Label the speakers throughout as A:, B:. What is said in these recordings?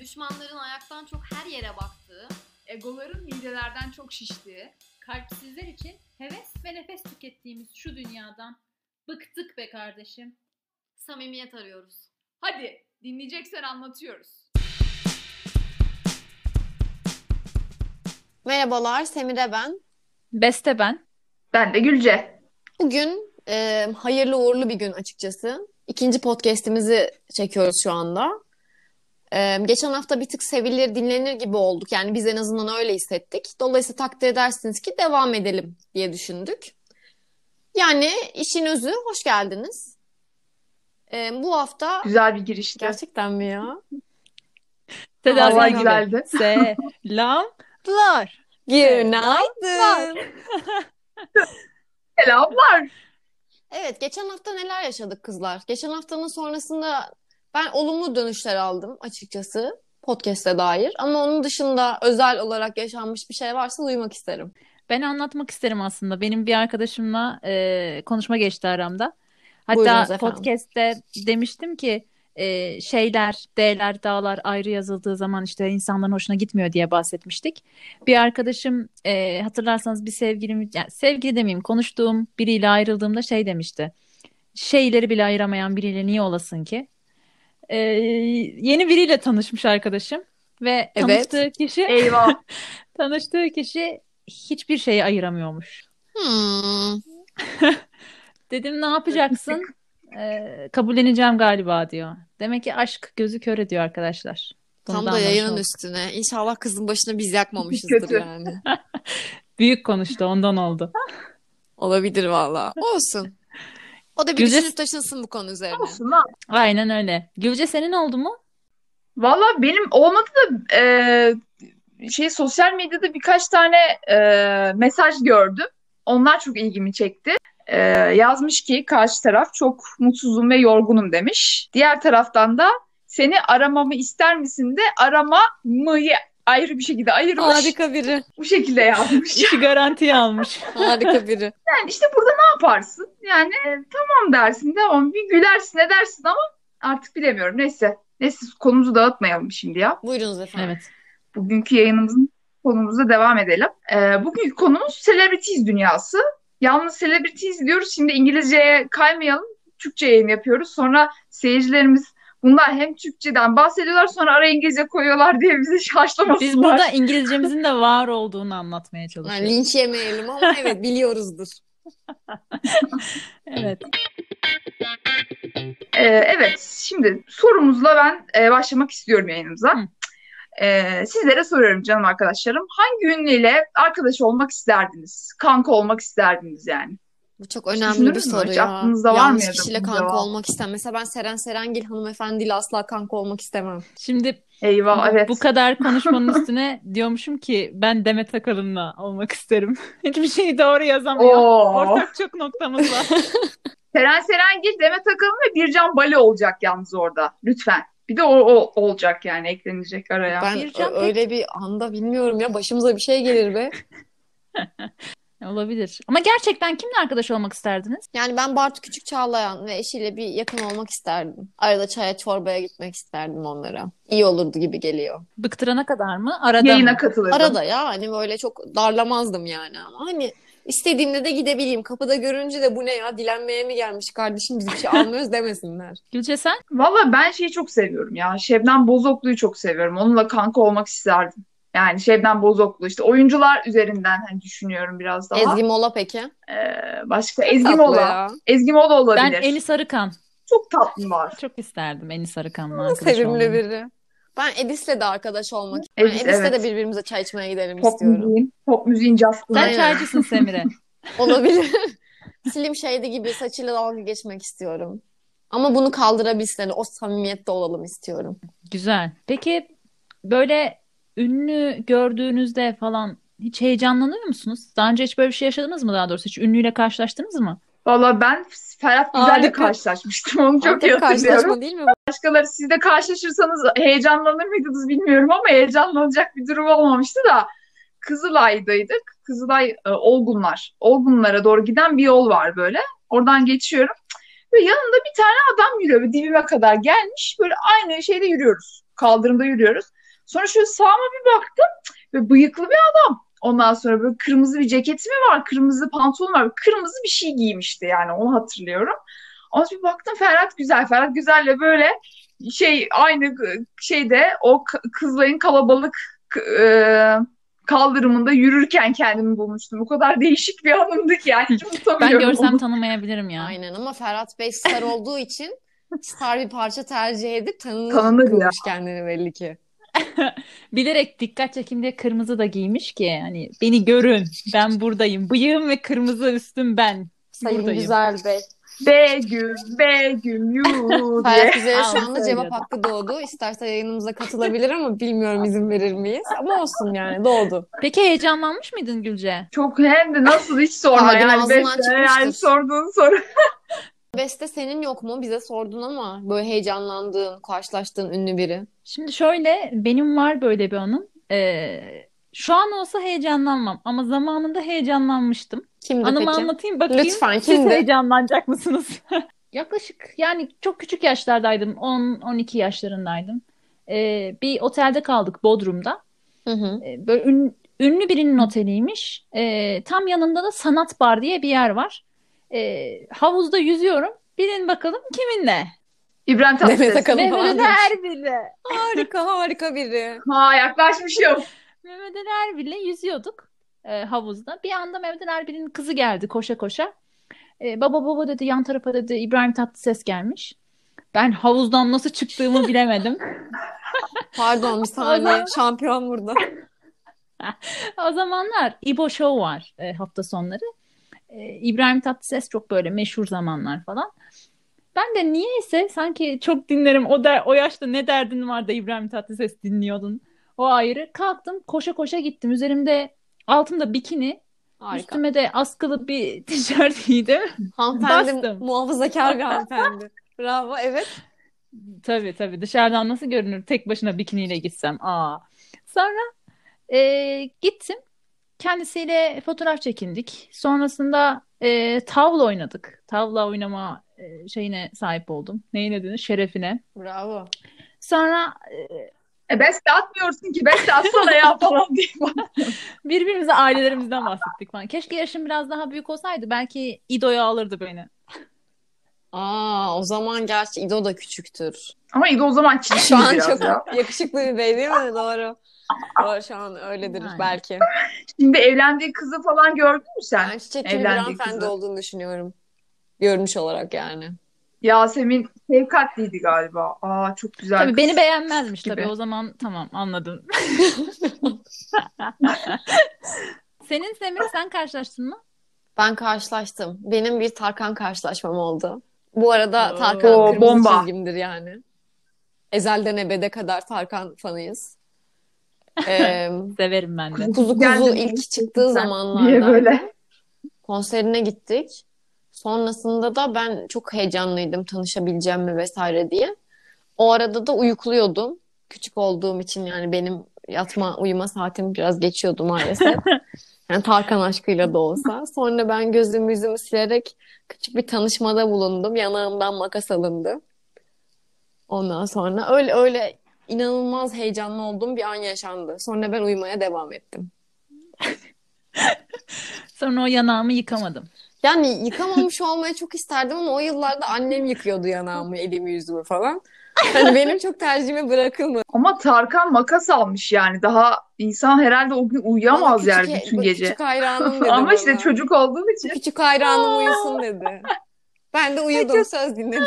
A: düşmanların ayaktan çok her yere baktığı,
B: Egoların midelerden çok şiştiği,
C: Kalpsizler için heves ve nefes tükettiğimiz şu dünyadan bıktık be kardeşim.
A: samimiyet arıyoruz.
B: Hadi dinleyeceksen anlatıyoruz.
D: Merhabalar, Semire ben.
C: Beste ben.
B: Ben de Gülce.
D: Bugün e, hayırlı uğurlu bir gün açıkçası. İkinci podcast'imizi çekiyoruz şu anda. E, geçen hafta bir tık sevilir, dinlenir gibi olduk. Yani biz en azından öyle hissettik. Dolayısıyla takdir edersiniz ki devam edelim diye düşündük. Yani işin özü, hoş geldiniz. E, bu hafta...
B: Güzel bir girişti.
D: Gerçekten mi ya?
E: Tedavi
D: Vallahi
E: gibi.
B: güzeldi.
E: Selamlar.
D: Günaydın.
B: Selamlar.
D: Evet, geçen hafta neler yaşadık kızlar? Geçen haftanın sonrasında ben olumlu dönüşler aldım açıkçası podcast'e dair. Ama onun dışında özel olarak yaşanmış bir şey varsa duymak isterim.
E: Ben anlatmak isterim aslında. Benim bir arkadaşımla e, konuşma geçti aramda.
D: Buyurunuz
E: Hatta
D: efendim.
E: podcast'te demiştim ki e, şeyler, D'ler, dağlar ayrı yazıldığı zaman işte insanların hoşuna gitmiyor diye bahsetmiştik. Bir arkadaşım e, hatırlarsanız bir sevgilim, yani sevgili demeyeyim konuştuğum biriyle ayrıldığımda şey demişti. Şeyleri bile ayıramayan biriyle niye olasın ki? E, yeni biriyle tanışmış arkadaşım ve
D: Evet.
E: tanıştığı kişi
B: Eyvah.
E: Tanıştığı kişi hiçbir şeyi ayıramıyormuş.
D: Hmm.
E: Dedim ne yapacaksın? Ee, kabulleneceğim galiba diyor. Demek ki aşk gözü kör ediyor arkadaşlar. Bunu
D: Tam da
E: anlamış
D: yayının
E: olduk.
D: üstüne. İnşallah kızın başını biz yakmamışızdır
B: Kötü.
D: yani.
E: Büyük konuştu ondan oldu.
D: Olabilir valla. Olsun. O da bir
E: Güzel-
D: düşünüp taşınsın bu konu üzerine.
B: Olsun lan.
E: Aynen öyle. Gülce senin oldu mu?
B: Valla benim olmadı da e, şey sosyal medyada birkaç tane e, mesaj gördüm. Onlar çok ilgimi çekti. E, yazmış ki karşı taraf çok mutsuzum ve yorgunum demiş. Diğer taraftan da seni aramamı ister misin de aramayı ayrı bir şekilde ayırmış.
D: biri.
B: Bu şekilde yazmış.
E: İşi garantiye almış.
D: Harika biri.
B: Yani işte burada ne yaparsın? Yani e, tamam dersin devam bir gülersin edersin ama artık bilemiyorum. Neyse. Neyse konumuzu dağıtmayalım şimdi ya.
D: Buyurunuz efendim.
E: Evet.
B: Bugünkü yayınımızın konumuza devam edelim. Ee, bugünkü konumuz Celebrities dünyası. Yalnız Celebrities diyoruz. Şimdi İngilizceye kaymayalım. Türkçe yayın yapıyoruz. Sonra seyircilerimiz bunlar hem Türkçeden bahsediyorlar sonra ara İngilizce koyuyorlar diye bizi şaşlamasınlar.
E: Biz burada İngilizcemizin de var olduğunu anlatmaya
D: Yani
E: çalışıyoruz.
D: linç yemeyelim ama evet biliyoruzdur.
E: Evet.
B: Ee, evet, şimdi sorumuzla ben e, başlamak istiyorum yayınımıza.
E: Hı.
B: Ee, sizlere soruyorum canım arkadaşlarım. Hangi ünlüyle arkadaş olmak isterdiniz? Kanka olmak isterdiniz yani?
D: Bu çok
B: Hiç
D: önemli bir
B: düşündünüz mü?
D: soru
B: Hiç
D: ya.
B: aklınızda var
D: Yanlış
B: mıydı
D: kişiyle
B: bunun
D: kanka
B: cevabı?
D: olmak istemem. Mesela ben Seren Serengil hanımefendiyle asla kanka olmak istemem.
E: Şimdi
B: Eyvah, evet.
E: bu kadar konuşmanın üstüne diyormuşum ki ben Demet Akalın'la olmak isterim. Hiçbir şeyi doğru yazamıyor.
B: Oo.
E: Ortak çok noktamız var.
B: Seren Serengil, Demet Akalın ve Bircan Bali olacak yalnız orada. Lütfen. Bir de o, o olacak yani eklenecek araya.
D: Ben
E: Bircan
D: ö- öyle bir anda bilmiyorum ya başımıza bir şey gelir be.
E: Olabilir. Ama gerçekten kimle arkadaş olmak isterdiniz?
D: Yani ben Bartu Küçük Çağlayan ve eşiyle bir yakın olmak isterdim. Arada çaya çorbaya gitmek isterdim onlara. İyi olurdu gibi geliyor.
E: Bıktırana kadar mı? Arada
B: Yayına
E: mı?
B: katılırdım.
D: Arada ya hani böyle çok darlamazdım yani ama hani istediğimde de gidebileyim. Kapıda görünce de bu ne ya dilenmeye mi gelmiş kardeşim biz bir şey almıyoruz demesinler.
E: Gülce sen?
B: Valla ben şeyi çok seviyorum ya. Şebnem Bozoklu'yu çok seviyorum. Onunla kanka olmak isterdim. Yani Şebnem Bozoklu işte oyuncular üzerinden hani düşünüyorum biraz daha.
D: Ezgi Mola peki?
B: Ee, başka Ezgi
D: Tatlı
B: Mola.
D: ya.
B: Ezgi Mola olabilir.
E: Ben Enis Arıkan.
B: Çok tatlı var.
E: Çok isterdim Enis Arıkan'la arkadaş
D: Sevimli
E: olmayı.
D: biri. Ben Edis'le de arkadaş olmak yani
B: Edis,
D: Edis'le
B: evet.
D: de birbirimize çay içmeye gidelim
B: Pop
D: istiyorum.
B: müziğin, pop müziğin cafkını.
E: Sen
D: Aynen.
E: çaycısın Semire.
D: Olabilir. Slim Shady gibi saçıyla dalga geçmek istiyorum. Ama bunu kaldırabilsin. Hani O samimiyette olalım istiyorum.
E: Güzel. Peki böyle ünlü gördüğünüzde falan hiç heyecanlanıyor musunuz? Daha önce hiç böyle bir şey yaşadınız mı daha doğrusu? Hiç ünlüyle karşılaştınız mı?
B: Valla ben Ferhat Güzel'le
D: Harika.
B: karşılaşmıştım. Onu çok
D: Antep
B: iyi hatırlıyorum.
D: karşılaşma değil mi?
B: Başkaları siz de karşılaşırsanız heyecanlanır mıydınız bilmiyorum ama heyecanlanacak bir durum olmamıştı da Kızılay'daydık. Kızılay e, Olgunlar. Olgunlara doğru giden bir yol var böyle. Oradan geçiyorum. Ve yanında bir tane adam yürüyor. Böyle dibime kadar gelmiş. Böyle aynı şeyde yürüyoruz. Kaldırımda yürüyoruz. Sonra şöyle sağıma bir baktım ve bıyıklı bir adam. Ondan sonra böyle kırmızı bir ceketi mi var, kırmızı pantolon var, kırmızı bir şey giymişti yani onu hatırlıyorum. Ondan sonra bir baktım Ferhat Güzel, Ferhat Güzel'le böyle şey aynı şeyde o k- kızların kalabalık k- e, kaldırımında yürürken kendimi bulmuştum. O kadar değişik bir anımdı ki yani. Hiç
E: Ben
B: unutamıyorum
E: görsem
B: onu.
E: tanımayabilirim ya.
D: Aynen ama Ferhat Bey star olduğu için star bir parça tercih edip tanınır
B: Tanınır ya.
D: kılmış kendini belli ki.
E: Bilerek dikkat çekim diye kırmızı da giymiş ki hani beni görün ben buradayım. Bıyığım ve kırmızı üstüm ben.
D: Sayın
E: Buradayım.
D: Güzel Bey.
B: Begüm, Begüm, yuu diye.
D: Ferhat Güzel'e şu
E: Al,
D: anda
E: söylüyordum.
D: cevap hakkı doğdu. İsterse yayınımıza katılabilir ama bilmiyorum izin verir miyiz? Ama olsun yani doğdu.
E: Peki heyecanlanmış mıydın Gülce?
B: Çok hem de nasıl hiç sorma
D: Kalbin
B: yani.
D: ağzından
B: Beste, yani
D: çıkmıştır.
B: sorduğun soru.
D: Beste senin yok mu? Bize sordun ama böyle heyecanlandığın, karşılaştığın ünlü biri.
E: Şimdi şöyle benim var böyle bir anım. Ee, şu an olsa heyecanlanmam ama zamanında heyecanlanmıştım.
D: Kimdi
E: Anımı
D: peki?
E: anlatayım bakayım.
D: Lütfen,
E: Siz
D: kimdi?
E: heyecanlanacak mısınız? Yaklaşık yani çok küçük yaşlardaydım. 10-12 yaşlarındaydım. Ee, bir otelde kaldık Bodrum'da.
D: Hı hı.
E: Ee, böyle ün- ünlü birinin oteliymiş. Ee, tam yanında da Sanat Bar diye bir yer var. Ee, havuzda yüzüyorum. Bilin bakalım kiminle?
B: İbrahim
D: Mehmet
B: Tatlıses.
D: Akalın falan
E: Mehmet
D: demiş.
E: Erbil'le.
D: Harika harika biri.
B: Ha yaklaşmışım.
E: Mehmet Ali Erbil'le yüzüyorduk e, havuzda. Bir anda Mehmet Ali Erbil'in kızı geldi koşa koşa. E, baba baba dedi yan tarafa dedi İbrahim Tatlıses gelmiş. Ben havuzdan nasıl çıktığımı bilemedim.
D: Pardon bir saniye. Şampiyon burada.
E: O zamanlar İbo Show var e, hafta sonları. E, İbrahim Tatlıses çok böyle meşhur zamanlar falan. Ben de niyeyse sanki çok dinlerim. O der, o yaşta ne derdin vardı İbrahim Tatlıses dinliyordun. O ayrı. Kalktım koşa koşa gittim. Üzerimde altımda bikini,
D: Harika.
E: Üstüme de askılı bir tişört giydim.
D: Hanımefendi
E: Bastım.
D: muhafazakar bir hanımefendi. Bravo evet.
E: Tabii tabii dışarıdan nasıl görünür tek başına bikiniyle gitsem. Aa. Sonra e, gittim. Kendisiyle fotoğraf çekindik. Sonrasında e, tavla oynadık. Tavla oynama e, şeyine sahip oldum. Neyine denir? Şerefine.
D: Bravo.
E: Sonra
B: E beste atmıyorsun ki beste atsana ya falan diye.
E: birbirimize ailelerimizden bahsettik falan. Keşke yaşım biraz daha büyük olsaydı. Belki İdo'ya alırdı beni.
D: Aa o zaman gerçi İdo da küçüktür.
B: Ama İdo o zaman çirkin
D: Şu an
B: biraz
D: çok
B: ya.
D: yakışıklı bir bey değil mi? Doğru. Doğru şu an öyledir
E: Aynen.
D: belki.
B: Şimdi evlendiği kızı falan gördün mü sen?
D: Ben çiçek gibi bir
B: Evlendiği
D: hanımefendi
B: kızı.
D: olduğunu düşünüyorum. Görünüş olarak yani.
B: Yasemin sevkatliydi galiba. Aa çok güzel
E: Tabii
B: kız.
E: beni beğenmezmiş
B: Gibi.
E: tabii. O zaman tamam anladım. Senin Semih sen karşılaştın mı?
D: Ben karşılaştım. Benim bir Tarkan karşılaşmam oldu. Bu arada
E: Oo,
D: Tarkan kırmızı
B: bomba.
D: çizgimdir yani. Ezelden ebede kadar Tarkan fanıyız. Ee,
E: Severim ben de.
D: kuzu
B: Geldim.
D: kuzu ilk çıktığı
B: Niye
D: zamanlarda
B: böyle?
D: konserine gittik. Sonrasında da ben çok heyecanlıydım tanışabileceğim mi vesaire diye. O arada da uyukluyordum. Küçük olduğum için yani benim yatma uyuma saatim biraz geçiyordu maalesef. Yani Tarkan aşkıyla da olsa. Sonra ben gözümü yüzümü silerek küçük bir tanışmada bulundum. Yanağımdan makas alındı. Ondan sonra öyle öyle inanılmaz heyecanlı olduğum bir an yaşandı. Sonra ben uyumaya devam ettim.
E: Sonra o yanağımı yıkamadım.
D: Yani yıkamamış olmayı çok isterdim ama o yıllarda annem yıkıyordu yanağımı, elimi, yüzümü falan. Hani benim çok tercihime bırakılmadı.
B: Ama Tarkan makas almış yani. Daha insan herhalde o gün
D: Bana
B: uyuyamaz
D: küçük,
B: yani
D: he-
B: bütün
D: bu
B: gece.
D: Küçük hayranım dedi
B: Ama işte
D: bana.
B: çocuk olduğum için.
D: Küçük hayranım uyusun dedi. Ben de uyudum söz dinledim.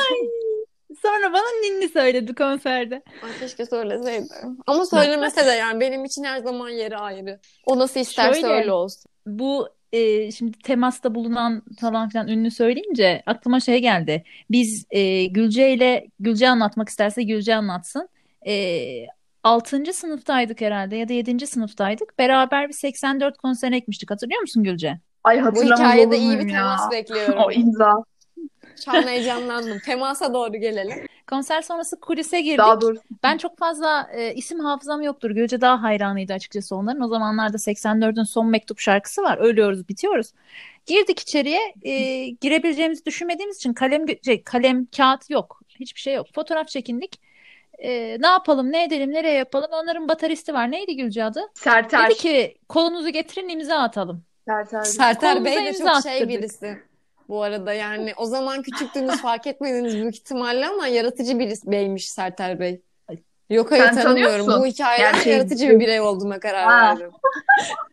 E: Sonra bana ninni söyledi konserde.
D: Ay keşke söyleseydi. Ama söylemese de yani benim için her zaman yeri ayrı. O nasıl isterse
E: Şöyle.
D: öyle olsun.
E: Bu e, şimdi temasta bulunan falan filan ünlü söyleyince aklıma şey geldi. Biz e, Gülce ile Gülce anlatmak isterse Gülce anlatsın. E, 6. sınıftaydık herhalde ya da 7. sınıftaydık. Beraber bir 84 konserine gitmiştik. Hatırlıyor musun Gülce?
B: Ay
D: Bu
B: hatırlamaz olur
D: hikayede iyi
B: muyum
D: bir
B: ya?
D: temas
B: O
D: bekliyorum.
B: imza.
D: Şu an heyecanlandım. Temasa doğru gelelim.
E: Konser sonrası kulise girdik.
B: Daha doğrusu
E: Ben çok fazla e, isim hafızam yoktur. Gülce daha hayranıydı açıkçası onların. O zamanlarda 84'ün son mektup şarkısı var. Ölüyoruz, bitiyoruz. Girdik içeriye. E, girebileceğimizi düşünmediğimiz için kalem gö- şey, kalem kağıt yok. Hiçbir şey yok. Fotoğraf çekindik. e, ne yapalım, ne edelim, nereye yapalım? Onların bataristi var. Neydi Gülce adı?
B: Serter.
E: Dedi ki kolunuzu getirin imza atalım.
B: Serter.
D: Serter Bey de
E: Kolumuza
D: çok
E: imza
D: şey
E: attırdık.
D: birisi. Bu arada yani o zaman küçüktünüz fark etmediniz büyük ihtimalle ama yaratıcı birisi beymiş Serter Bey. Yok hayır
B: Sen tanıyor
D: tanımıyorum.
B: musun?
D: Bu hikayeden
B: Yani şey-
D: yaratıcı bir birey olduğuma karar
B: Ha.
D: verdim.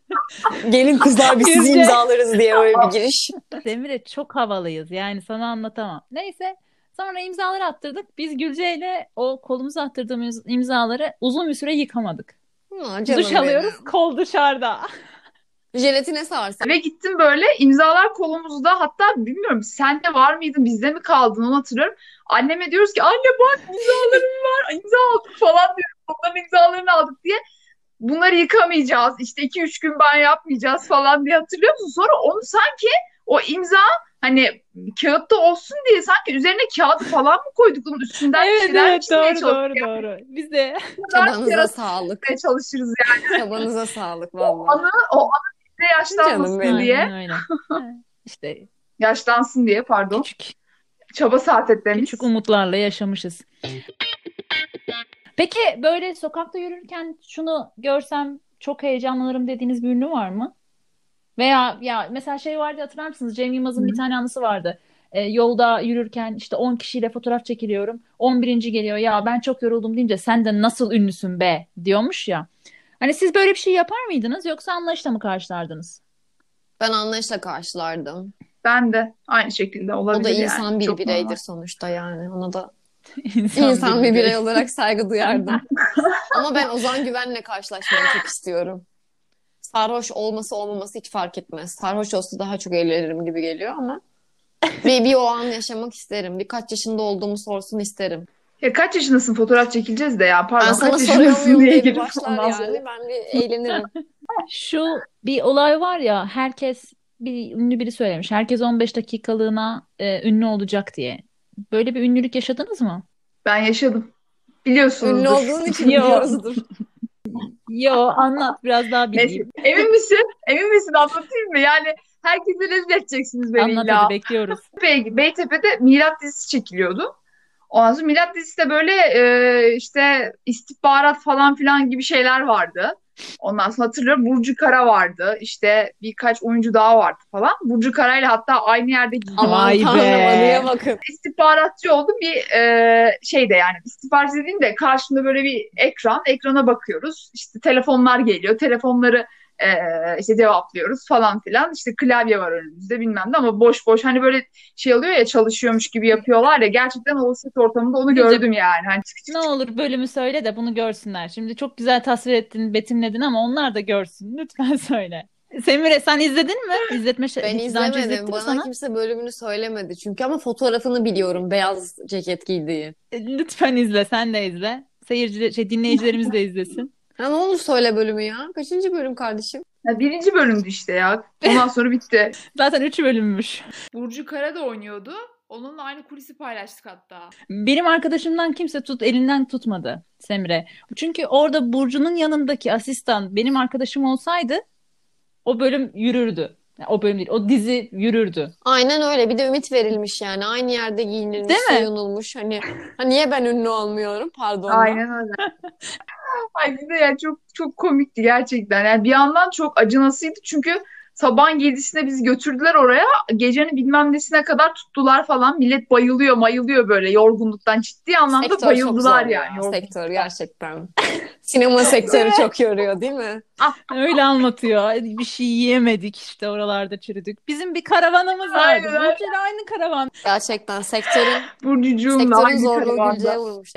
D: Gelin kızlar biz sizi
E: Gülce.
D: imzalarız diye öyle bir giriş.
E: Demir'e çok havalıyız yani sana anlatamam. Neyse sonra imzaları attırdık. Biz Gülce ile o kolumuza attırdığımız imzaları uzun bir süre yıkamadık.
D: Ha, canım
E: Duş alıyoruz, kol dışarıda.
D: benim. Jelatine sarsan.
B: Ve gittim böyle imzalar kolumuzda hatta bilmiyorum sen de var mıydın bizde mi kaldın onu hatırlıyorum. Anneme diyoruz ki anne bak imzalarım var imza aldım falan diyoruz. Onların imzalarını aldık diye. Bunları yıkamayacağız işte 2-3 gün ben yapmayacağız falan diye hatırlıyor musun? Sonra onu sanki o imza hani kağıtta olsun diye sanki üzerine kağıdı falan mı koyduk onun üstünden bir şey şeyler çizmeye çalıştık.
E: doğru. Biz de
D: Tabanınıza sağlık.
B: Yapmaya çalışırız yani.
D: Tabanınıza sağlık
B: O
D: vallahi.
B: anı, o anı bize yaşlanmasın
D: Canım benim.
B: diye.
E: Aynen öyle. işte
B: Yaşlansın diye pardon.
E: küçük
B: Çaba sarf etmemiz.
E: küçük
D: um-
E: umutlarla yaşamışız. Peki böyle sokakta yürürken şunu görsem çok heyecanlanırım dediğiniz bir ünlü var mı? Veya ya mesela şey vardı hatırlar mısınız? Cem Yılmaz'ın bir tane anısı vardı. Ee, yolda yürürken işte 10 kişiyle fotoğraf çekiliyorum. 11. geliyor ya ben çok yoruldum deyince sen de nasıl ünlüsün be diyormuş ya. Hani siz böyle bir şey yapar mıydınız yoksa anlayışla mı karşılardınız?
D: Ben anlayışla karşılardım.
B: Ben de aynı şekilde
D: O da
B: olabilir yani.
D: insan bir
B: Çok
D: bireydir
B: normal.
D: sonuçta yani. Ona da
E: İnsan
D: İnsan bir
E: birey.
D: birey olarak saygı duyardım. Ama ben Ozan Güven'le karşılaşmayı çok istiyorum. Sarhoş olması olmaması hiç fark etmez. Sarhoş olsa daha çok eğlenirim gibi geliyor ama bir, bir o an yaşamak isterim. Birkaç yaşında olduğumu sorsun isterim.
B: Ya kaç yaşındasın fotoğraf çekileceğiz de ya pardon
D: Ben sana
B: kaç
D: soruyor
B: yaşındasın
D: muyum
B: diye
D: diye bir
B: girip
D: başlar
B: ondan sonra.
D: yani. Ben bir eğlenirim.
E: Şu bir olay var ya herkes bir ünlü biri söylemiş. Herkes 15 dakikalığına e, ünlü olacak diye. Böyle bir ünlülük yaşadınız mı?
B: Ben yaşadım. Biliyorsunuzdur.
D: Ünlü olduğun için
E: Yok.
D: biliyoruzdur.
E: Yo anlat biraz daha
B: Neyse,
E: bileyim.
B: emin misin? Emin misin anlatayım mı? Yani herkese rezil edeceksiniz beni
E: Anlat
B: illa.
E: hadi bekliyoruz.
B: Bey, Beytepe'de Milat dizisi çekiliyordu. Ondan sonra Milat dizisi de böyle e, işte istihbarat falan filan gibi şeyler vardı. Ondan sonra hatırlıyorum Burcu Kara vardı. İşte birkaç oyuncu daha vardı falan. Burcu Kara'yla hatta aynı yerde giydim.
D: Aman
E: Vay be.
D: tanrım anıya bakın.
B: istihbaratçı oldum bir e, şeyde yani istihbaratçı dediğim de karşımda böyle bir ekran ekrana bakıyoruz işte telefonlar geliyor telefonları e, işte cevaplıyoruz falan filan işte klavye var önümüzde bilmem ne ama boş boş hani böyle şey oluyor ya çalışıyormuş gibi yapıyorlar ya gerçekten o set ortamında onu gördüm yani hani çık çık
E: Ne olur bölümü söyle de bunu görsünler. Şimdi çok güzel tasvir ettin, betimledin ama onlar da görsün. Lütfen söyle. Semire sen izledin mi? İzletme şey,
D: Ben
E: daha önce izlettim
D: izlemedim. Bana
E: sana.
D: kimse bölümünü söylemedi çünkü ama fotoğrafını biliyorum beyaz ceket giydiği.
E: E, Lütfen izle, sen de izle. Seyirciler, şey, dinleyicilerimiz de izlesin.
D: Ha, ne olur söyle bölümü ya. Kaçıncı bölüm kardeşim?
B: Ya birinci bölümdü işte ya ondan sonra bitti
E: Zaten 3 bölümmüş.
F: Burcu Kara da oynuyordu. Onunla aynı kulisi paylaştık hatta.
E: Benim arkadaşımdan kimse tut elinden tutmadı Semre. Çünkü orada Burcu'nun yanındaki asistan benim arkadaşım olsaydı o bölüm yürürdü. Yani o bölüm değil, o dizi yürürdü.
D: Aynen öyle. Bir de ümit verilmiş yani. Aynı yerde giyinilmiş,
E: Değil mi?
D: soyunulmuş. Hani, hani niye ben ünlü olmuyorum? Pardon. da.
B: Aynen öyle. Ay bir de ya çok çok komikti gerçekten. Yani bir yandan çok acınasıydı çünkü sabahın yedisinde bizi götürdüler oraya. Gecenin bilmem nesine kadar tuttular falan. Millet bayılıyor, mayılıyor böyle yorgunluktan. Ciddi anlamda
D: Sektör çok
B: bayıldılar
D: zor
B: yani.
D: ya.
B: Yorgun-
D: Sektör gerçekten. Sinema sektörü çok yoruyor değil mi?
E: Öyle anlatıyor. Bir şey yiyemedik işte oralarda çürüdük. Bizim bir karavanımız vardı.
B: Aynen, aynen.
E: Burcu'yla aynı karavan.
D: Gerçekten sektörün
B: Burcucuğum da
D: sektörün
B: Hmm, hangi
D: zorluğu
B: karavanda?
D: Gülce'ye vurmuş.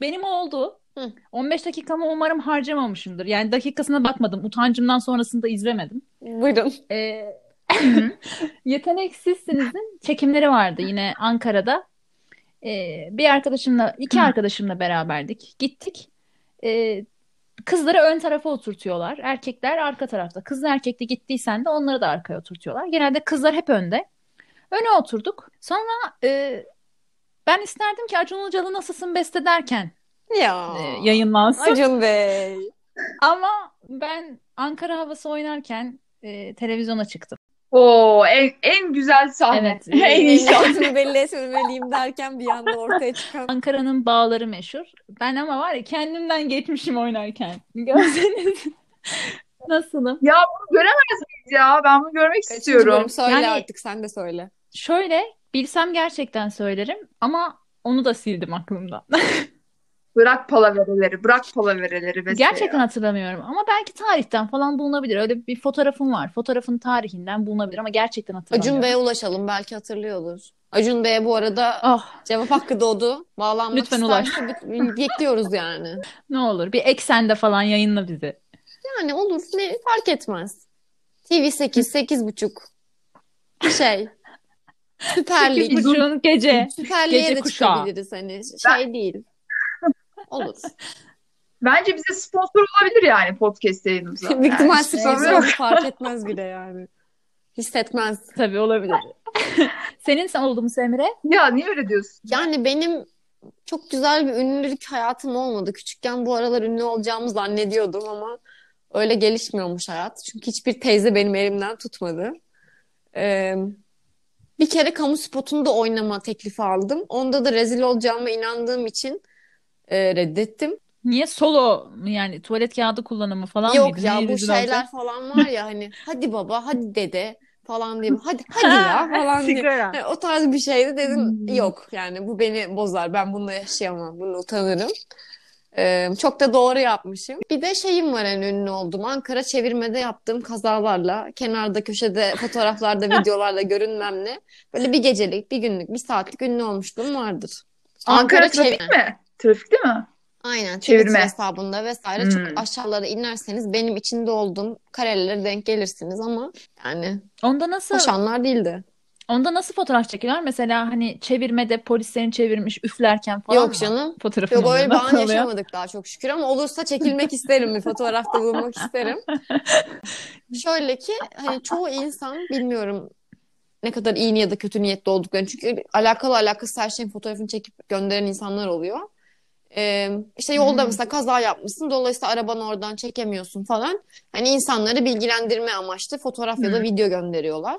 E: Benim oldu.
D: Hı.
E: 15 dakikamı umarım harcamamışımdır. Yani dakikasına bakmadım. Utancımdan sonrasında izlemedim.
D: Buyurun.
E: Ee, Yeteneksizsiniz'in çekimleri vardı yine Ankara'da. Ee, bir arkadaşımla, iki arkadaşımla beraberdik. Gittik. Ee, kızları ön tarafa oturtuyorlar. Erkekler arka tarafta. Kızla erkekle gittiysen de onları da arkaya oturtuyorlar. Genelde kızlar hep önde. Öne oturduk. Sonra e, ben isterdim ki Acun Ilıcalı Nasılsın Beste derken
D: Ya.
E: e,
B: Ee,
E: yayınlansın.
D: Acun Bey.
E: Ama ben Ankara havası oynarken e, televizyona çıktım.
B: Oo, en, en güzel sahne.
E: Evet.
B: en iyi sahne.
D: Niyetimi belli etmemeliyim derken bir anda ortaya çıkan.
E: Ankara'nın bağları meşhur. Ben ama var ya kendimden geçmişim oynarken. Görseniz nasılım?
B: Ya ben bunu görmek
D: Kaçıncı
B: istiyorum.
D: bölüm? Söyle
E: Yani-
D: artık sen de söyle.
E: Şöyle bilsem gerçekten söylerim ama onu da sildim aklımdan.
B: Bırak palavereleri, bırak palavereleri vesaire.
E: Gerçekten hatırlamıyorum ama belki tarihten falan bulunabilir. Öyle bir fotoğrafım var. Fotoğrafın tarihinden bulunabilir ama gerçekten
D: Acun
E: hatırlamıyorum.
D: Bey'e ulaşalım belki hatırlıyordur. Acun Bey'e bu arada
E: Ah,
D: cevap hakkı doğdu. Bağlanmak
E: Lütfen ulaş.
D: isterse bek- bekliyoruz yani.
E: ne olur bir eksende falan yayınla bizi.
D: Yani olur ne fark etmez. TV 8, 8 buçuk. Şey. Süper Lig.
E: Sekiz buçuğun gece.
D: Süper Lig'e
E: Gece
D: de
E: kuşağı.
D: çıkabiliriz hani. Şey değil. Olur.
B: Bence bize sponsor olabilir yani podcast yayınımıza.
D: Büyük
B: Yani
D: ihtimal
B: hiç
D: sponsor
B: sorun yok.
D: fark etmez bile yani. Hissetmez.
E: Tabii olabilir. Senin sen oldu mu Semre?
B: Ya niye öyle diyorsun?
D: Yani benim çok güzel bir ünlülük hayatım olmadı. Küçükken bu aralar ünlü olacağımı zannediyordum ama öyle gelişmiyormuş hayat. Çünkü hiçbir teyze benim elimden tutmadı. Ee, bir kere kamu spotunda oynama teklifi aldım. Onda da rezil olacağıma inandığım için e, reddettim.
E: Niye solo mu yani tuvalet kağıdı kullanımı falan
D: Yok
E: mıydı?
D: ya
E: Niye
D: bu
E: rezil olacak?
D: şeyler falan var ya hani hadi baba hadi dede falan diye hadi hadi ya falan diye.
E: Sigara.
D: Yani o tarz bir şeydi dedim
B: Hmm.
D: yok yani bu beni bozar ben bununla yaşayamam bunu utanırım. Ee, çok da doğru yapmışım. Bir de şeyim var en ünlü olduğum Ankara çevirmede yaptığım kazalarla kenarda köşede fotoğraflarda videolarla görünmemle böyle bir gecelik bir günlük bir saatlik ünlü olmuşluğum vardır.
B: Ankara
D: çevir-
B: trafik mi? Trafikte mi?
D: Aynen Twitter
B: Çevirme.
D: hesabında vesaire
B: Hmm.
D: çok aşağılara inerseniz benim içinde olduğum karelere denk gelirsiniz ama yani
E: Onda nasıl
D: hoş anlar değildi.
E: onda nasıl fotoğraf çekiyorlar? Mesela hani çevirmede polislerin çevirmiş üflerken falan
D: Yok
E: mı?
D: canım.
E: Fotoğrafın
D: Yok öyle
E: oluyor.
D: bir
E: Nasıl
D: an
E: oluyor?
D: yaşamadık daha çok şükür ama olursa çekilmek isterim bir fotoğrafta bulunmak isterim. Şöyle ki hani çoğu insan bilmiyorum ne kadar iyi ya da kötü niyetli olduklarını çünkü alakalı alakasız her şeyin fotoğrafını çekip gönderen insanlar oluyor. Ee, işte yolda
E: Hmm.
D: mesela kaza yapmışsın dolayısıyla arabanı oradan çekemiyorsun falan. Hani insanları bilgilendirme amaçlı fotoğraf ya da
B: Hmm.
D: video gönderiyorlar.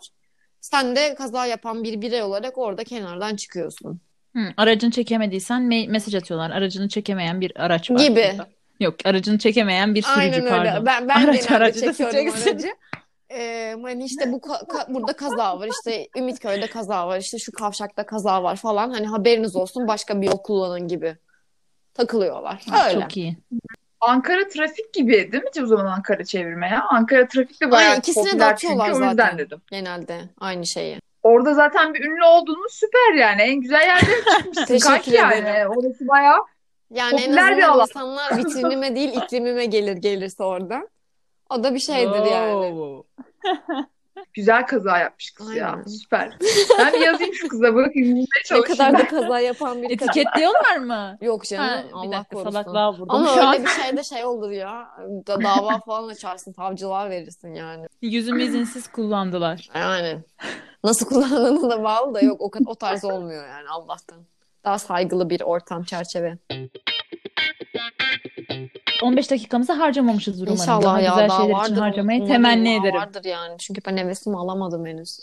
D: Sen de kaza yapan bir birey olarak orada kenardan çıkıyorsun.
E: Hı, aracını çekemediysen me- mesaj atıyorlar. Aracını çekemeyen bir araç var
D: Gibi.
E: burada. Yok, aracını çekemeyen bir sürücü
D: Aynen öyle.
E: pardon.
D: Ben ben
E: Araç-
D: genelde
E: aracı da
D: çekiyorum
E: seçeceksin.
D: aracı. Ee, hani işte bu ka- ka- burada kaza var, işte Ümitköy'de kaza var, işte şu kavşakta kaza var falan. Hani haberiniz olsun başka bir yol kullanın gibi takılıyorlar.
E: Ha,
D: Öyle.
E: Çok iyi.
B: Ankara trafik gibi değil mi o zaman Ankara çevirme ya? Ankara trafik de bayağı
D: Aynen, ikisine de
B: popüler çünkü
D: atıyorlar
B: o yüzden
D: zaten.
B: dedim.
D: Genelde aynı şeyi.
B: Orada zaten bir ünlü olduğunuz süper yani. En güzel yerde çıkmışsın
D: Teşekkür
B: kanki yani.
D: ederim.
B: Orası bayağı
D: Yani en
B: Popüler bir
D: azından
B: alan.
D: insanlar vitrinime değil iklimime gelir gelirse orada. O da bir şeydir yani.
E: Oo.
B: güzel kaza yapmış kız ya.
D: Aynen.
B: Süper. Ben bir yazayım şu kıza bakayım. Bulmaya
D: Ne
B: çalışayım.
D: kadar da kaza yapan bir kadın.
E: Etiketliyorlar mı?
D: Yok canım
E: Ha, bir
D: Allah
E: dakika
D: korusun.
E: salaklığa vurdum
D: Ama
E: şu an.
D: öyle bir şeyde şey olur ya. Da dava falan açarsın, savcılığa verirsin yani.
E: Yüzümü izinsiz kullandılar.
D: Yani nasıl kullandığına da bağlı da yok o, kad- o tarz olmuyor yani Allah'tan. Daha saygılı bir ortam çerçeve.
E: 15 dakikamızı harcamamışız umarım.
D: İnşallah
E: Daha
D: ya
E: güzel
D: daha
E: şeyler için
D: vardır
E: harcamayı
D: umarım
E: temenni
D: daha
E: ederim.
D: vardır yani. Çünkü ben hevesimi alamadım henüz.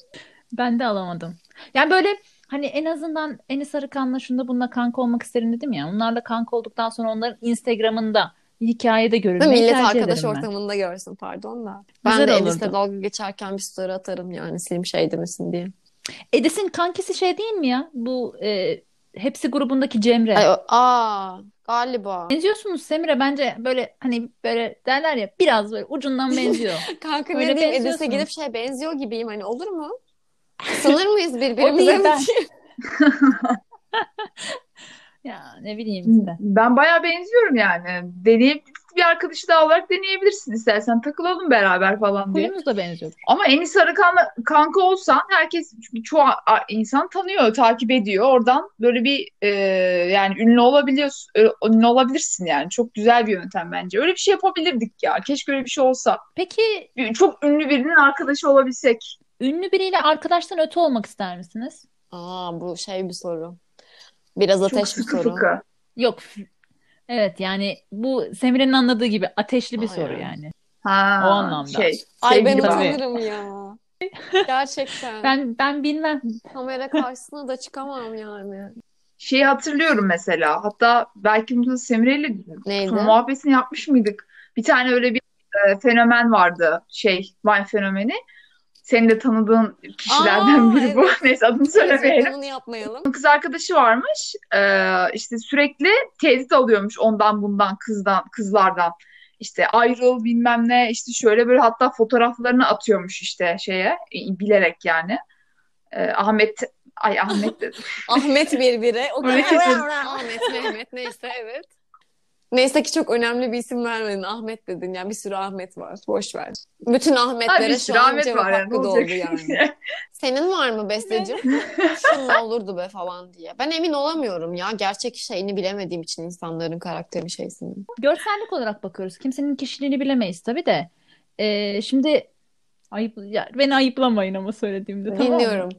E: Ben de alamadım. Yani böyle hani en azından Enis Arıkan'la şunda bununla kanka olmak isterim dedim ya. Onlarla kanka olduktan sonra onların Instagram'ında bir hikayede
D: Ve
E: görünmeyi
D: millet
E: tercih
D: arkadaş
E: ederim ben.
D: ortamında görsün pardon da. Ben
E: Güzel
D: de
E: olurdu.
D: Enis'le dalga geçerken bir story atarım yani silim şey demesin diye.
E: Edis'in kankisi şey değil mi ya? Bu e, hepsi grubundaki Cemre.
D: Ay, o- aa galiba.
E: Benziyorsunuz Semire bence böyle hani böyle derler ya biraz böyle ucundan benziyor.
D: Kanka
E: Öyle
D: ne diyeyim Edis'e
E: benziyorsunuz.
D: gidip şey benziyor gibiyim hani olur mu? Sanır mıyız
E: O değil
D: birbirimize mi?
E: ben. Ya ne bileyim işte.
B: Ben bayağı benziyorum yani. Deneyip bir arkadaşı daha olarak deneyebilirsin istersen. Takılalım beraber falan diye.
E: Huyumuz da benziyor.
B: Ama Enis Arıkan'la kanka olsan herkes çünkü çoğu a- insan tanıyor, takip ediyor. Oradan böyle bir e, yani ünlü olabiliyorsun, e, ünlü olabilirsin yani. Çok güzel bir yöntem bence. Öyle bir şey yapabilirdik ya. Keşke öyle bir şey olsa.
E: Peki
B: Bir- Çok ünlü birinin arkadaşı olabilsek.
E: ünlü biriyle arkadaştan öte olmak ister misiniz?
D: Aa bu şey bir soru. Biraz
B: Çok
D: ateş bir
B: sıkı
D: soru.
B: fıkı.
E: Yok. Evet yani bu Semire'nin anladığı gibi ateşli bir soru
D: Aynen.
E: yani.
B: Ha,
E: O anlamda.
B: şey,
D: Ay ben
B: sevgili
E: Tabii.
B: bağ.
D: utanırım ya. Gerçekten.
E: Ben ben bilmem.
D: Kamera karşısına da çıkamam yani.
B: Şeyi hatırlıyorum mesela. Hatta belki bunu da Semire'yle
D: Neydi?
B: Sonra muhabbetini yapmış mıydık? Bir tane öyle bir e, fenomen vardı. Şey, Vine fenomeni. Senin de tanıdığın kişilerden
D: Aa,
B: biri bu. Neyse adını söylemeyelim.
D: Bunu yapmayalım.
B: Kız arkadaşı varmış. E, işte sürekli tehdit alıyormuş ondan bundan kızdan kızlardan. İşte ayrıl bilmem ne işte şöyle böyle hatta fotoğraflarını atıyormuş işte şeye e, bilerek yani. E, Ahmet ay Ahmet dedim.
D: Ahmet birbiri. O
B: Öyle kesin.
D: Ahmet, Mehmet neyse evet. Neyse ki çok önemli bir isim vermedin. Ahmet dedin. Yani bir sürü Ahmet var. Boş ver. Bütün
B: Ay, bir
D: Ahmetlere
B: sürü
D: şu an
B: Ahmet
D: cevap
B: var yani.
D: hakkı doğdu
B: Olacak. şey
D: yani. Senin var mı bestecim? Şunun olurdu be falan diye. Ben emin olamıyorum ya. Gerçek şeyini bilemediğim için insanların karakterini şeysini.
E: Görsellik olarak bakıyoruz. Kimsenin kişiliğini bilemeyiz tabii de. Ee, şimdi ayıp ya beni ayıplamayın ama söylediğimde tamam mı?
D: Dinliyorum.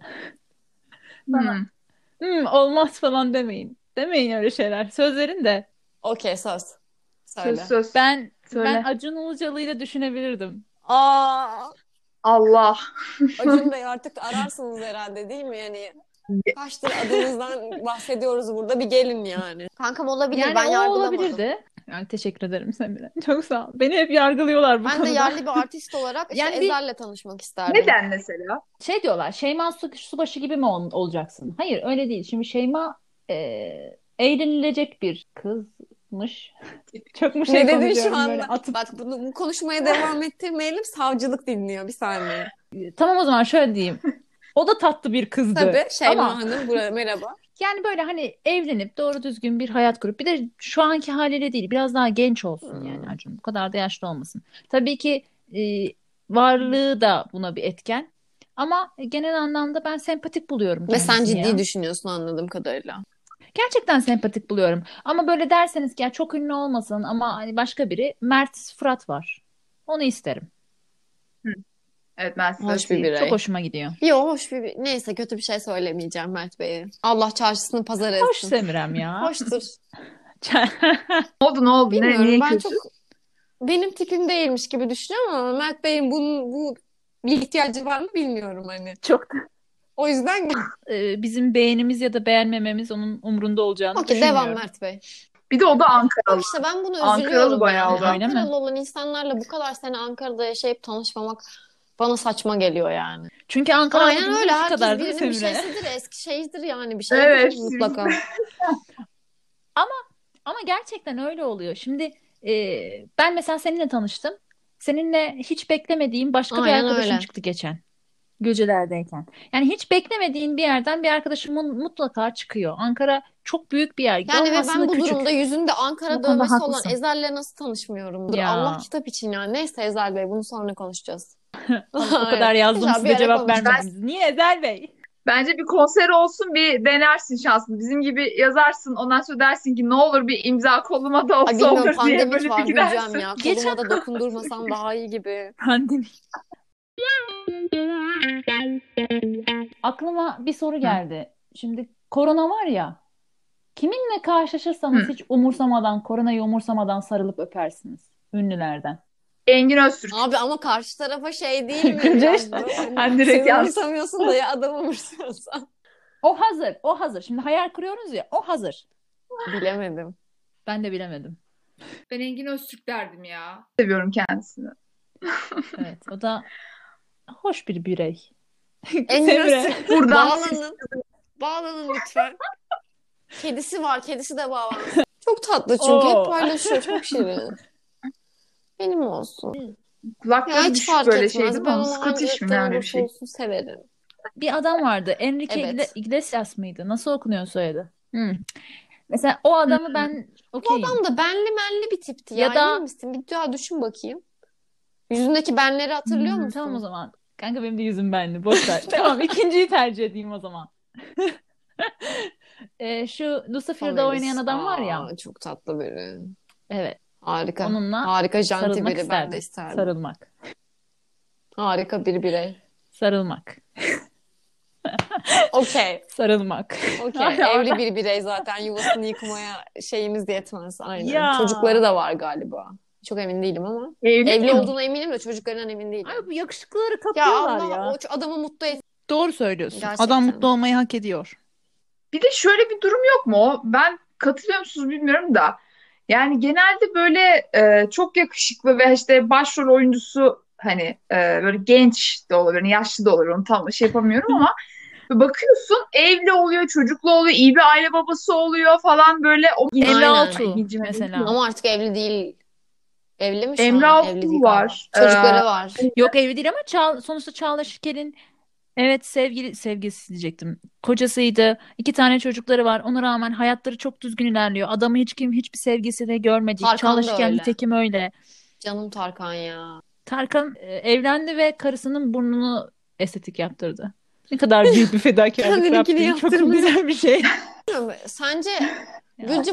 E: Bana,
B: Hmm.
E: "Hmm, olmaz falan demeyin. Demeyin öyle şeyler. Sözlerin de
D: Okey söz. Söyle.
B: Söz söz.
E: ben
B: Söyle.
E: ben Acun Ilıcalı'yla düşünebilirdim.
D: Aa,
B: Allah.
D: Acun Bey artık ararsınız herhalde değil mi? Yani kaçtır adınızdan bahsediyoruz burada bir gelin yani. Kankam olabilir
E: Yani
D: ben
E: o
D: yargılamadım.
E: olabilirdi. Yani teşekkür ederim Semire. Çok sağ ol. Beni hep yargılıyorlar bu
D: Ben de
E: konuda.
D: yerli bir artist olarak işte
E: Yani bir-
D: Ezhel'le tanışmak isterdim.
B: Neden mesela?
E: şey diyorlar Şeyma Su- Subaşı gibi mi ol- olacaksın? Hayır öyle değil. Şimdi Şeyma e, eğlenilecek bir kızmış. Çok mu şey
D: ne dedin şu
E: konuşuyorum
D: anda?
E: böyle atıp.
D: Bak bunu, bu konuşmaya devam ettirmeyelim. Savcılık dinliyor bir saniye.
E: Tamam o zaman şöyle diyeyim. O da tatlı bir kızdı.
D: Tabii Şeyma
E: Ama
D: Hanım buraya merhaba.
E: yani böyle hani evlenip doğru düzgün bir hayat kurup bir de şu anki haliyle değil biraz daha genç
D: Hmm.
E: olsun yani Acun. Bu kadar da yaşlı olmasın. Tabii ki e, varlığı da buna bir etken. Ama genel anlamda ben sempatik buluyorum
D: Ve sen
E: kendisini
D: ciddi
E: ya.
D: düşünüyorsun anladığım kadarıyla.
E: Gerçekten sempatik buluyorum. Ama böyle derseniz ki ya çok ünlü olmasın ama hani başka biri Mert Fırat var. Onu isterim.
B: Evet ben size
D: Hoş bir
B: atayım.
D: birey.
E: Çok hoşuma gidiyor.
D: Yo hoş bir, neyse kötü bir şey söylemeyeceğim Mert Bey'e. Allah çarşısını pazar etsin.
E: Hoş Semirem ya.
D: Hoştur.
B: Ne oldu ne oldu? Ne,
D: Bilmiyorum
B: niye
D: ben
B: kötü?
D: çok benim tipim değilmiş gibi düşünüyorum ama Mert Bey'in bunun bu bir ihtiyacı var mı bilmiyorum hani.
E: Çok.
D: O yüzden
E: Ee, bizim beğenimiz ya da beğenmememiz onun umrunda olacağını
D: okey devam
E: düşünmüyorum.
D: Mert Bey.
B: Bir de o da Ankaralı.
D: Bak işte ben bunu
B: Ankaralı
D: üzülüyorum.
B: bayağı
D: yani.
E: da. Öyle mi?
D: Ankaralı olan insanlarla bu kadar sene Ankara'da yaşayıp tanışmamak bana saçma geliyor yani.
E: Çünkü Ankara
D: Aynen
E: olduğumuz
D: öyle.
E: bu
D: Herkes
E: kadar değil mi
D: birinin bir şey
E: Semire?
D: şeysidir, eski şeyidir yani bir şey
B: Evet.
D: mutlaka.
E: Ama gerçekten öyle oluyor. Şimdi e, ben mesela seninle tanıştım. Seninle hiç beklemediğim başka bir
D: Aynen
E: arkadaşım
D: öyle.
E: çıktı geçen. Gülcülerdeyken. Yani hiç beklemediğin bir yerden bir arkadaşımın mutlaka çıkıyor. Ankara çok büyük bir yer.
D: Yani ve ben
E: Galvasını
D: bu
E: küçük.
D: durumda yüzünde Ankara
E: Bu konuda
D: dövmesi olan
E: haklısın.
D: Ezel'le nasıl tanışmıyorumdur?
E: Ya.
D: Allah kitap için yani. Neyse Ezel Bey bunu sonra konuşacağız.
E: O kadar yazdım
D: Güzel, bir
E: size
D: ara
E: cevap
D: konuşuruz.
E: vermediniz. Niye Ezel Bey?
B: Bence bir konser olsun bir denersin şansını. Bizim gibi yazarsın ondan sonra dersin ki ne olur bir imza koluma da
D: Ay
B: olsa
D: bilmiyorum
B: olur diye
D: pandemi
B: böyle
D: var
B: bir
D: Gülcem
B: gidersin.
D: ya. Koluma
E: Geçen-
D: da dokundurmasam daha iyi gibi.
E: Pandemi. Aklıma bir soru geldi. Şimdi korona var ya. Kiminle karşılaşırsanız hiç umursamadan, koronayı umursamadan sarılıp öpersiniz ünlülerden.
B: Engin Öztürk.
D: Abi ama karşı tarafa şey değil mi?
E: Gülce
D: ya
E: işte.
D: bu? Hani
B: Ben direkt
D: seni
B: yaz.
D: umursamıyorsun da ya adamı umursuyorsan.
E: O hazır, o hazır. Şimdi hayal kuruyoruz ya, o hazır.
D: Bilemedim.
E: Ben de bilemedim.
F: Ben Engin Öztürk derdim ya.
B: Seviyorum kendisini.
E: Evet, o da hoş bir birey.
D: Engin
E: Semre.
D: Öztürk,
B: Buradan
D: bağlanın. Bağlanın lütfen. Kedisi var. Kedisi de bağlansın. Çok tatlı çünkü.
E: Oo.
D: Hep paylaşıyor. Çok şirin. Benim olsun. Ya
B: kulakları
D: hiç
B: düşük
D: fark
B: böyle
D: etmez.
B: şey değil mi?
D: Ben onu
B: Scottish mi
D: hangi
B: ne öyle bir
D: ırktan
B: şey?
D: olursa olsun severim.
E: Bir adam vardı. Enrique
D: Evet.
E: Igle- Iglesias mıydı? Nasıl okunuyor soyadı? Hmm. Mesela o adamı ben okeyim.
D: Tam da benli menli bir tipti ya.
E: Ya da-
D: Emin misin? Bir daha düşün bakayım. Yüzündeki benleri hatırlıyor
E: Hmm,
D: musun?
E: Tamam o zaman. Kanka benim de yüzüm benli. Boş ver. tamam ikinciyi tercih edeyim o zaman. Ee, şu Lucifer'da
D: Pomelis.
E: oynayan adam var ya.
D: Aa, çok tatlı biri.
E: Evet.
D: Harika.
E: Onunla
D: Harika janti
E: sarılmak
D: biri ben
E: isterdim.
D: de isterdim.
E: Sarılmak.
D: Harika bir birey.
E: Sarılmak.
D: Okey.
E: Sarılmak.
D: Okey. Evli bir birey zaten yuvasını yıkmaya şeyimiz yetmez. Aynen.
E: Ya.
D: Çocukları da var galiba. Çok emin değilim ama.
B: Evli,
D: Evli
B: mi?
D: olduğuna eminim de çocuklarından emin değilim.
E: Abi bu yakışıklıları
D: Ya
E: kapıyorlar ya.
D: Allah o ç- adamı mutlu etsin.
E: Doğru söylüyorsun.
D: Gerçekten.
E: Adam mutlu olmayı hak ediyor.
B: Bir de şöyle bir durum yok mu? O- Ben katılıyor musunuz bilmiyorum da. Yani genelde böyle e, çok yakışıklı ve işte başrol oyuncusu hani e, böyle genç de olabilir, hani yaşlı da olur. Onu tam şey yapamıyorum ama bakıyorsun evli oluyor, çocuklu oluyor, iyi bir aile babası oluyor falan böyle. O
D: Aynen.
E: 56
B: İlginç,
E: mesela.
D: Ama artık evli değil. Evli mi şu
B: Emre
D: an?
B: Altuğ
D: Evli değil
B: var.
D: galiba. Çocukları
B: Ee,
D: var.
E: Yok evli değil ama Çağla- sonuçta Çağla Şikel'in evet sevgili sevgilisi diyecektim. Kocasıydı. iki tane çocukları var. Ona rağmen hayatları çok düzgün ilerliyor. Adamı hiç kim hiçbir sevgilisi de görmedik.
D: Tarkan
E: Çağla
D: da
E: Şikel
D: öyle.
E: nitekim öyle.
D: Canım Tarkan ya.
E: Tarkan e, evlendi ve karısının burnunu estetik yaptırdı. Ne kadar büyük bir fedakarlık
D: Kendininkini
E: yaptığı çok
D: yaptırmıyor.
E: güzel bir şey.
D: Bilmiyorum, Sence Gülce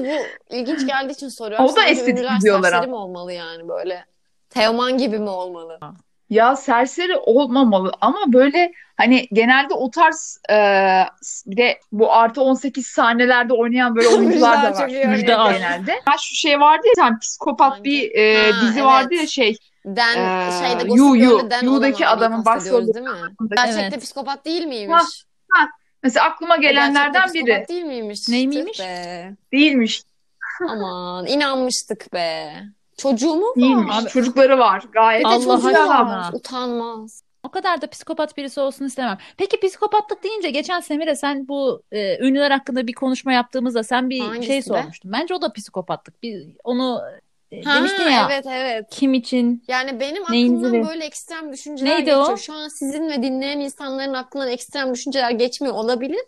D: bu ilginç geldiği için soruyorum.
B: O da
D: Sence
B: estetik
D: ünlüler
B: diyorlar
D: serseri
B: ama.
D: mi olmalı yani böyle? Teoman gibi mi olmalı?
B: Ya serseri olmamalı ama böyle hani genelde o tarz e, bir de bu artı 18 sahnelerde oynayan böyle oyuncular da var
D: Müjdat çok iyi örnek
E: Müjdat.
D: oldu.
B: genelde. Ha şu şey vardı ya sen psikopat
D: Hangi?
B: bir e,
D: Ha,
B: dizi
D: evet.
B: vardı ya şey.
D: Den
B: Ee,
D: şeyde
B: Yu,
D: Gossip
B: Yu.
D: Girl'de Den
B: Yu'daki
D: olan adamı
B: adamın
D: kastediyoruz
B: başrolü-
D: değil mi? Gerçekte
E: Evet.
D: psikopat değil miymiş?
B: Ha, Mesela aklıma gelenlerden
D: Gerçekte
B: biri
D: psikopat değil miymiş? Tüh
E: Neymiymiş?
D: be.
B: değilmiş.
D: Aman inanmıştık be. Çocuğu mu
B: Değilmiş.
D: var?
B: Çocukları var gayet.
D: Bir de
E: Allah
D: çocuğu
E: aşkına.
D: var. Utanmaz.
E: O kadar da psikopat birisi olsun istemem. Peki psikopatlık deyince geçen Semire sen bu e, ünlüler hakkında bir konuşma yaptığımızda sen bir
D: Hangisi
E: şey
D: be?
E: sormuştun. Bence o da psikopatlık. Bir, onu e,
D: Ha,
E: demiştin ya
D: evet evet.
E: kim için?
D: Yani benim
E: Neyinizi
D: aklımdan
E: be-
D: böyle ekstrem düşünceler
E: Neydi
D: geçiyor.
E: o?
D: Şu an sizin ve dinleyen insanların aklından ekstrem düşünceler geçmiyor olabilir.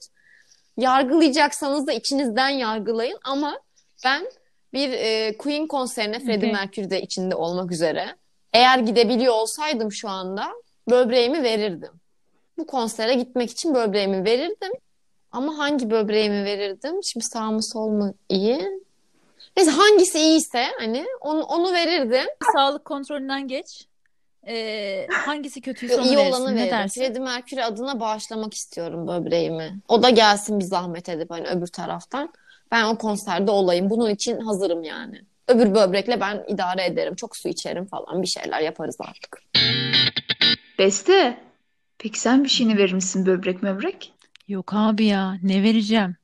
D: Yargılayacaksanız da içinizden yargılayın ama ben bir e, Queen konserine Freddie
E: Okey.
D: Mercury de içinde olmak üzere eğer gidebiliyor olsaydım şu anda böbreğimi verirdim. Bu konsere gitmek için böbreğimi verirdim. Ama hangi böbreğimi verirdim? Şimdi sağ mı sol mu iyi? Neyse hangisi iyiyse hani onu, onu verirdim.
E: Sağlık kontrolünden geç. E, hangisi kötüyse
D: Yo,
E: onu
D: iyi
E: verirsin.
D: olanı
E: Ne
D: veririm.
E: dersin?
D: Freddie Mercury adına bağışlamak istiyorum böbreğimi. O da gelsin bir zahmet edip hani öbür taraftan. Ben o konserde olayım. Bunun için hazırım yani. Öbür böbrekle ben idare ederim. Çok su içerim falan. Bir şeyler yaparız artık.
B: Beste, peki sen bir şeyini verir misin böbrek möbrek?
E: Yok abi ya ne vereceğim?